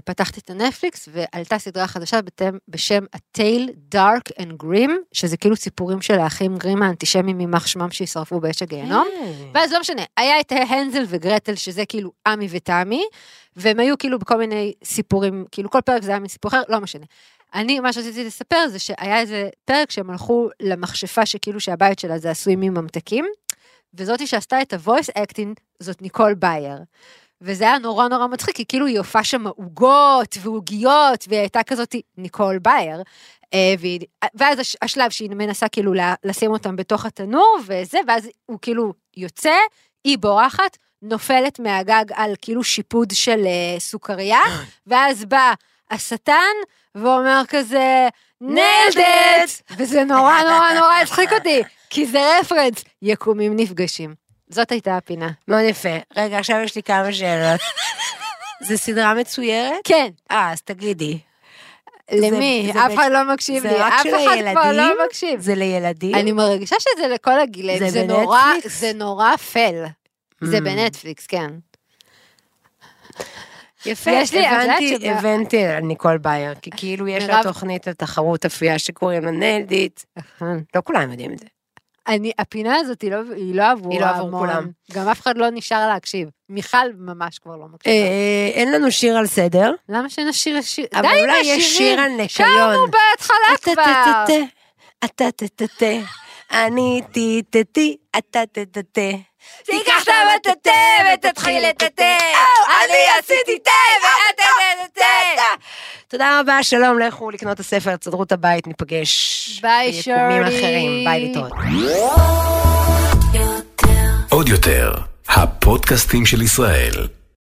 ופתחתי את הנטפליקס, ועלתה סדרה חדשה בתם- בשם A Tale Dark and Grim, שזה כאילו סיפורים של האחים גרים האנטישמים יימח שמם שישרפו באש הגיהנום. ואז לא משנה, היה את הנזל וגרטל, שזה כאילו עמי ותמי, והם היו כאילו בכל מיני סיפורים, כאילו כל פרק זה היה מסיפור אחר, לא משנה. אני, מה שרציתי לספר זה שהיה איזה פרק שהם הלכו למכשפה שכאילו שהבית שלה זה עשוי מממתקים, וזאתי שעשתה את ה-voice acting זאת ניקול בייר. וזה היה נורא נורא מצחיק, כי כאילו היא הופעה שם עוגות ועוגיות, והיא הייתה כזאת ניקול בייר. אה, והיא, ואז הש, השלב שהיא מנסה כאילו לה- לשים אותם בתוך התנור וזה, ואז הוא כאילו יוצא, היא בורחת, נופלת מהגג על כאילו שיפוד של אה, סוכריה, ואז בא השטן ואומר כזה, נלדת! וזה נורא נורא נורא הצחיק אותי, כי זה רפרנס, יקומים נפגשים. זאת הייתה הפינה. מאוד יפה. רגע, עכשיו יש לי כמה שאלות. זו סדרה מצוירת? כן, אה, אז תגידי. למי? זה אף אחד לא מקשיב זה לי, רק אף של אחד כבר לא הילדים? מקשיב. זה לילדים? אני מרגישה שזה לכל הגילאים, זה זה, נורא, בנטפליקס? זה נורא פל. זה Mm. בנטפליקס, כן. יפה, יש לי- את יודעת הבנתי, שב- הבנתי על ניקול בייר, כי כאילו יש לה מירב- תוכנית לתחרות אפייה שקוראים לה נלדית. לא כולם יודעים את זה. אני, הפינה הזאת היא לא, היא לא עבור היא לא עבור ההמון. כולם. גם אף אחד לא נשאר להקשיב. מיכל ממש כבר לא מקשיבה. אה, אין לנו שיר על סדר, למה שנשיר שיר? די אבל עם אולי יש השירים. שיר על ניקיון. אה, שרנו בהתחלה כבר. טה-טה-טה-טה, אתה טה-טה-טה, אני טי-טה-טי, אתה טה-טה-טה. תיקח את המטאטה ותתחיל את התה. אני עשיתי תה ואת עשית תה. תודה רבה, שלום, לכו לקנות את הספר, תסדרו את הבית, ניפגש. ביי, ביקומים שורלי. אחרים, ביי להתראות. עוד יותר, הפודקאסטים של ישראל.